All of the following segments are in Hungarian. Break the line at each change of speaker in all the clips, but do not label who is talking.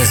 Ez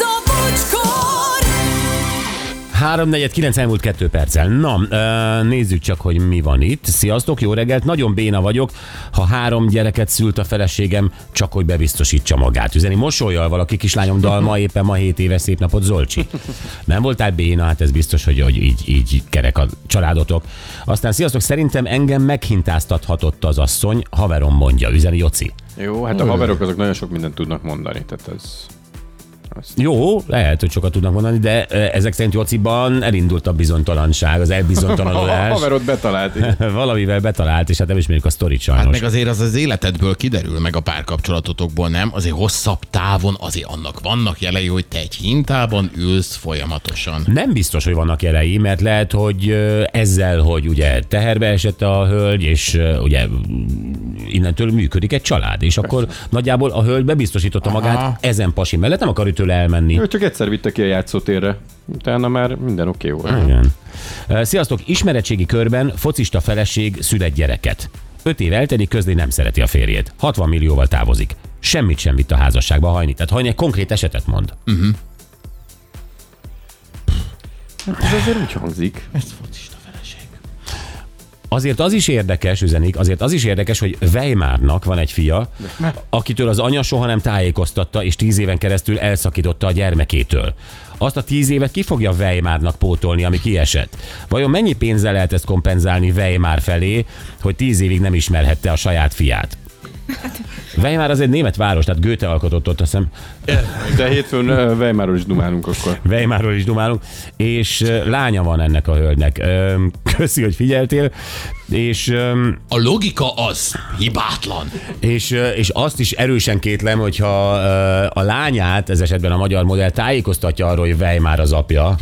a bocskor!
349 elmúlt kettő perccel. Na, ö, nézzük csak, hogy mi van itt. Sziasztok, jó reggelt, nagyon béna vagyok, ha három gyereket szült a feleségem, csak hogy bebiztosítsa magát. Üzeni mosolyal valaki kislányom dalma, éppen ma 7 éves szép napot, Zolcsi. Nem voltál béna, hát ez biztos, hogy, hogy így, így kerek a családotok. Aztán sziasztok, szerintem engem meghintáztathatott az asszony, haverom mondja, üzeni Joci.
Jó, hát a haverok azok nagyon sok mindent tudnak mondani, tehát ez...
Jó, lehet, hogy sokat tudnak mondani, de ö, ezek szerint Jociban elindult a bizonytalanság, az
A
elbizonytalanodás.
haverot betalált. igen.
valamivel betalált, és hát nem ismerjük a sztorit
Hát
sajnos.
meg azért az az életedből kiderül, meg a párkapcsolatotokból nem, azért hosszabb távon azért annak vannak jelei, hogy te egy hintában ülsz folyamatosan.
nem biztos, hogy vannak jelei, mert lehet, hogy ö, ezzel, hogy ugye teherbe esett a hölgy, és ö, ugye mm, innentől működik egy család, és akkor nagyjából a hölgy bebiztosította magát ezen pasi mellett, nem akar tőle elmenni.
Ő csak egyszer vitte ki a játszótérre, utána már minden oké okay volt.
Igen. Ö, Sziasztok! Ismeretségi körben focista feleség szület gyereket. Öt év eltelik, közli nem szereti a férjét. 60 millióval távozik. Semmit sem vitt a házasságba hajni. Tehát hajni egy konkrét esetet mond.
Ez azért úgy hangzik.
Azért az is érdekes, üzenik, azért az is érdekes, hogy Weimarnak van egy fia, akitől az anya soha nem tájékoztatta, és tíz éven keresztül elszakította a gyermekétől. Azt a tíz évet ki fogja Weimarnak pótolni, ami kiesett? Vajon mennyi pénzzel lehet ezt kompenzálni Weimar felé, hogy tíz évig nem ismerhette a saját fiát? Weimar az egy német város, tehát Goethe alkotott ott, azt hiszem,
De hétfőn ö, Weimarról is dumálunk akkor.
Weimarról is dumálunk, és ö, lánya van ennek a hölgynek. Ö, Köszi, hogy figyeltél, és ö,
A logika az hibátlan.
És, ö, és azt is erősen kétlem, hogyha ö, a lányát, ez esetben a magyar modell tájékoztatja arról, hogy Weimar az apja,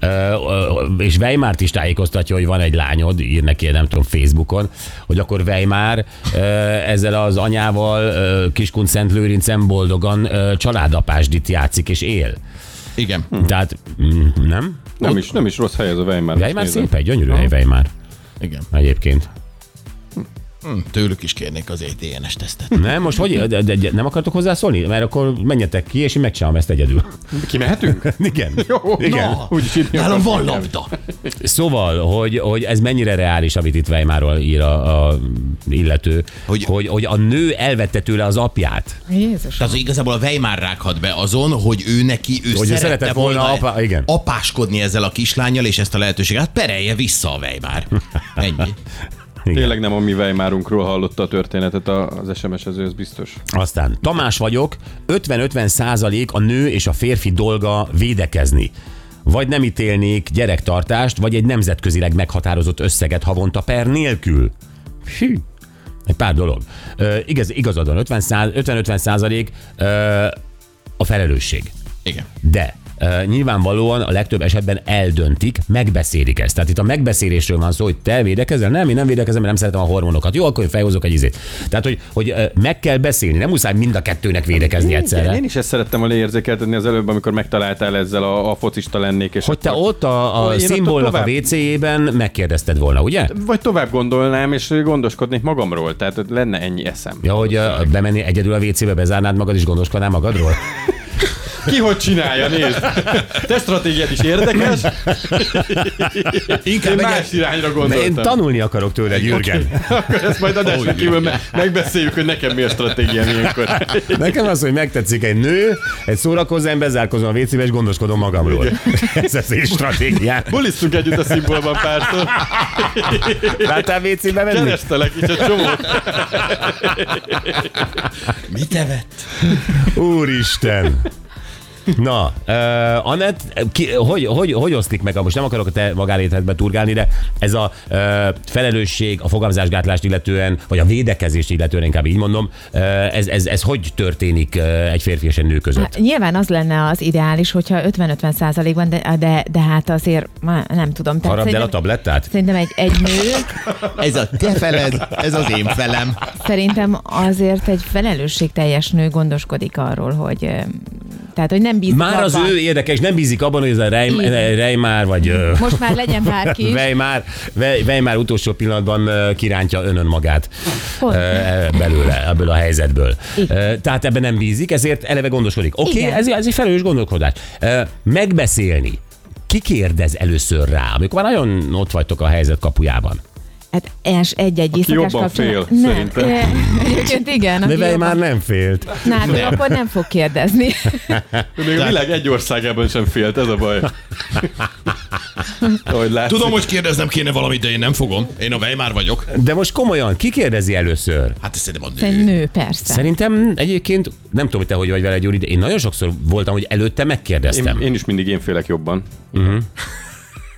ö, ö, és Weimárt is tájékoztatja, hogy van egy lányod, ír neki, nem tudom, Facebookon, hogy akkor Weimar ö, ezzel az anyával ö, Kiskun Szent Lőrincen boldogan ö, családapásdit játszik és él.
Igen.
Tehát mm, nem?
Nem is, nem is rossz hely ez a Weimar.
Weimar
Nézem.
szép, egy gyönyörű hely Weimar
Igen.
egyébként.
Hm, Tőlük is kérnék az E egy DNS tesztet.
Nem, most hogy, de, de, de, nem akartok hozzászólni? Mert akkor menjetek ki, és én megcsinálom ezt egyedül.
Kimehetünk?
Igen.
Jó.
Igen.
Na,
Úgyis így
nálam van labda.
Szóval, hogy, hogy ez mennyire reális, amit itt Weimarról ír a, a illető, hogy,
Hogy-
hogy, hogy a nő elvette tőle az apját.
Jézus.
Tehát az igazából a Weimar rághat be azon, hogy ő neki,
Hogy
ő
ő
szerette,
szeretett volna
volna,
apa- igen.
apáskodni ezzel a kislányjal, és ezt a lehetőséget hát perelje vissza a Weimar. Ennyi.
Tényleg nem a mi Weimarunkról hallotta a történetet a- az SMS-ező, ez biztos.
Aztán Tamás vagyok, 50-50 százalék a nő és a férfi dolga védekezni. Vagy nem ítélnék gyerektartást, vagy egy nemzetközileg meghatározott összeget havonta per nélkül. Hű. Egy pár dolog. Ö, igaz, igazad van, 50 száz- 50-50 százalék ö, a felelősség.
Igen.
De ö, nyilvánvalóan a legtöbb esetben eldöntik, megbeszélik ezt. Tehát itt a megbeszélésről van szó, hogy te védekezel, nem, én nem védekezem, mert nem szeretem a hormonokat. Jó, akkor én felhozok egy izét. Tehát, hogy, hogy ö, meg kell beszélni, nem muszáj mind a kettőnek védekezni
Igen,
egyszerre.
én is ezt szerettem volna érzékeltetni az előbb, amikor megtaláltál ezzel a, a focista lennék. És
Hogy te
akkor-
ott a,
Hogy
a
én ott a
szimbolnak a
tovább-
WC-jében megkérdezted volna, ugye?
Vagy tovább gondolnám, és gondoskodnék magamról, tehát hogy lenne ennyi eszem.
Ja, hogy ö, bemenni egyedül a WC-be, bezárnád magad és gondoskodnál magadról?
Ki hogy csinálja, nézd! Te stratégiát is érdekes,
Inkább
én
egy-
más irányra
De én
gondoltam.
tanulni akarok tőled, Jürgen.
Akkor ezt majd adásra kívül me- megbeszéljük, hogy nekem mi a stratégiám ilyenkor.
Nekem az, hogy megtetszik egy nő, egy szórakozom, bezárkozom a WC-be, és gondoskodom magamról. Ez az én stratégiám.
Bulisztunk együtt a szimbolban párszor,
Láttál WC-be menni?
kerestelek is egy csomót.
Mit evett?
Úristen! Na, uh, Anett, ki, hogy, hogy, hogy osztik meg, most nem akarok a te magánéletedbe turgálni, de ez a uh, felelősség, a fogamzásgátlást illetően, vagy a védekezést illetően, inkább így mondom, uh, ez, ez, ez hogy történik uh, egy férfi és egy nő között?
Hát nyilván az lenne az ideális, hogyha 50-50 százalékban, de, de, de hát azért már hát, nem tudom. Tehát
Harapd el a
szerintem-
tablettát?
Szerintem egy, egy nő,
Ez a te feled, ez az én felem.
szerintem azért egy felelősségteljes nő gondoskodik arról, hogy ö, Tehát, hogy nem bízom
Már az
abban.
ő érdekes, nem bízik abban, hogy ez a Reim,
Igen.
Reimár, vagy ö,
Most már legyen bárki is.
Weimar, We- Weimar utolsó pillanatban ö, kirántja önön magát
Hogy?
ö, e, belőle, ebből a helyzetből.
Igen.
Ö, Tehát ebben nem bízik, ezért eleve gondoskodik. Oké, okay,
Igen.
ez, ez egy felelős gondolkodás. Ö, Megbeszélni. Ki kérdez először rá, amikor már nagyon ott vagytok a helyzet kapujában?
Hát es egy-egy éjszakás
jobban
kapcsolat.
fél,
nem.
szerintem.
E, Egyébként igen. aki
De már
jobban-
nem félt.
Nálad akkor nem fog kérdezni.
Még a világ egy országában sem félt, ez a baj. Ahogy látszik.
Tudom, hogy kérdeznem kéne valamit, de én nem fogom. Én a Weimar vagyok.
De most komolyan, ki kérdezi először?
Hát ez szerintem a nő.
Egy nő, persze.
Szerintem egyébként, nem tudom, hogy te hogy vagy vele, Gyuri, de én nagyon sokszor voltam, hogy előtte megkérdeztem.
Én, én is mindig én félek jobban.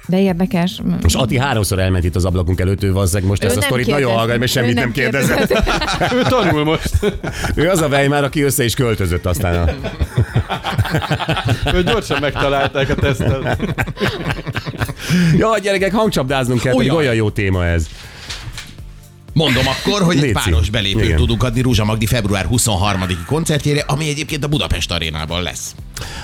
De érdekes.
Most Ati háromszor elment itt az ablakunk előtt, ő valószínűleg most ezt a
nem
sztorit
kérdez.
nagyon hallgat, mert
Ő
semmit nem kérdezett.
Ő tanul most.
Ő az a vej már, aki össze is költözött aztán. A...
Ő gyorsan megtalálták a tesztet.
Ja, gyerekek, hangcsapdáznunk kell, olyan.
Olyan.
olyan jó téma ez.
Mondom akkor, hogy
Léci.
egy páros belépőt
Igen.
tudunk adni Rúzsa Magdi február 23-i koncertjére, ami egyébként a Budapest arénában lesz.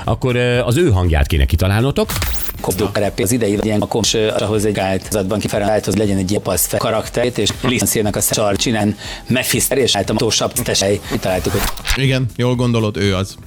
Akkor ö, az ő hangját kéne kitalálnotok.
koptuk rep az idei ilyen akkor és ahhoz egy áltozatban kifelállt, hogy legyen egy apasz fe karakterét, és licenszélnek a szar hát csinán Mephiszter, és állt a tósabb tesej. Kitaláltuk, hogy
Igen, jól gondolod, ő az.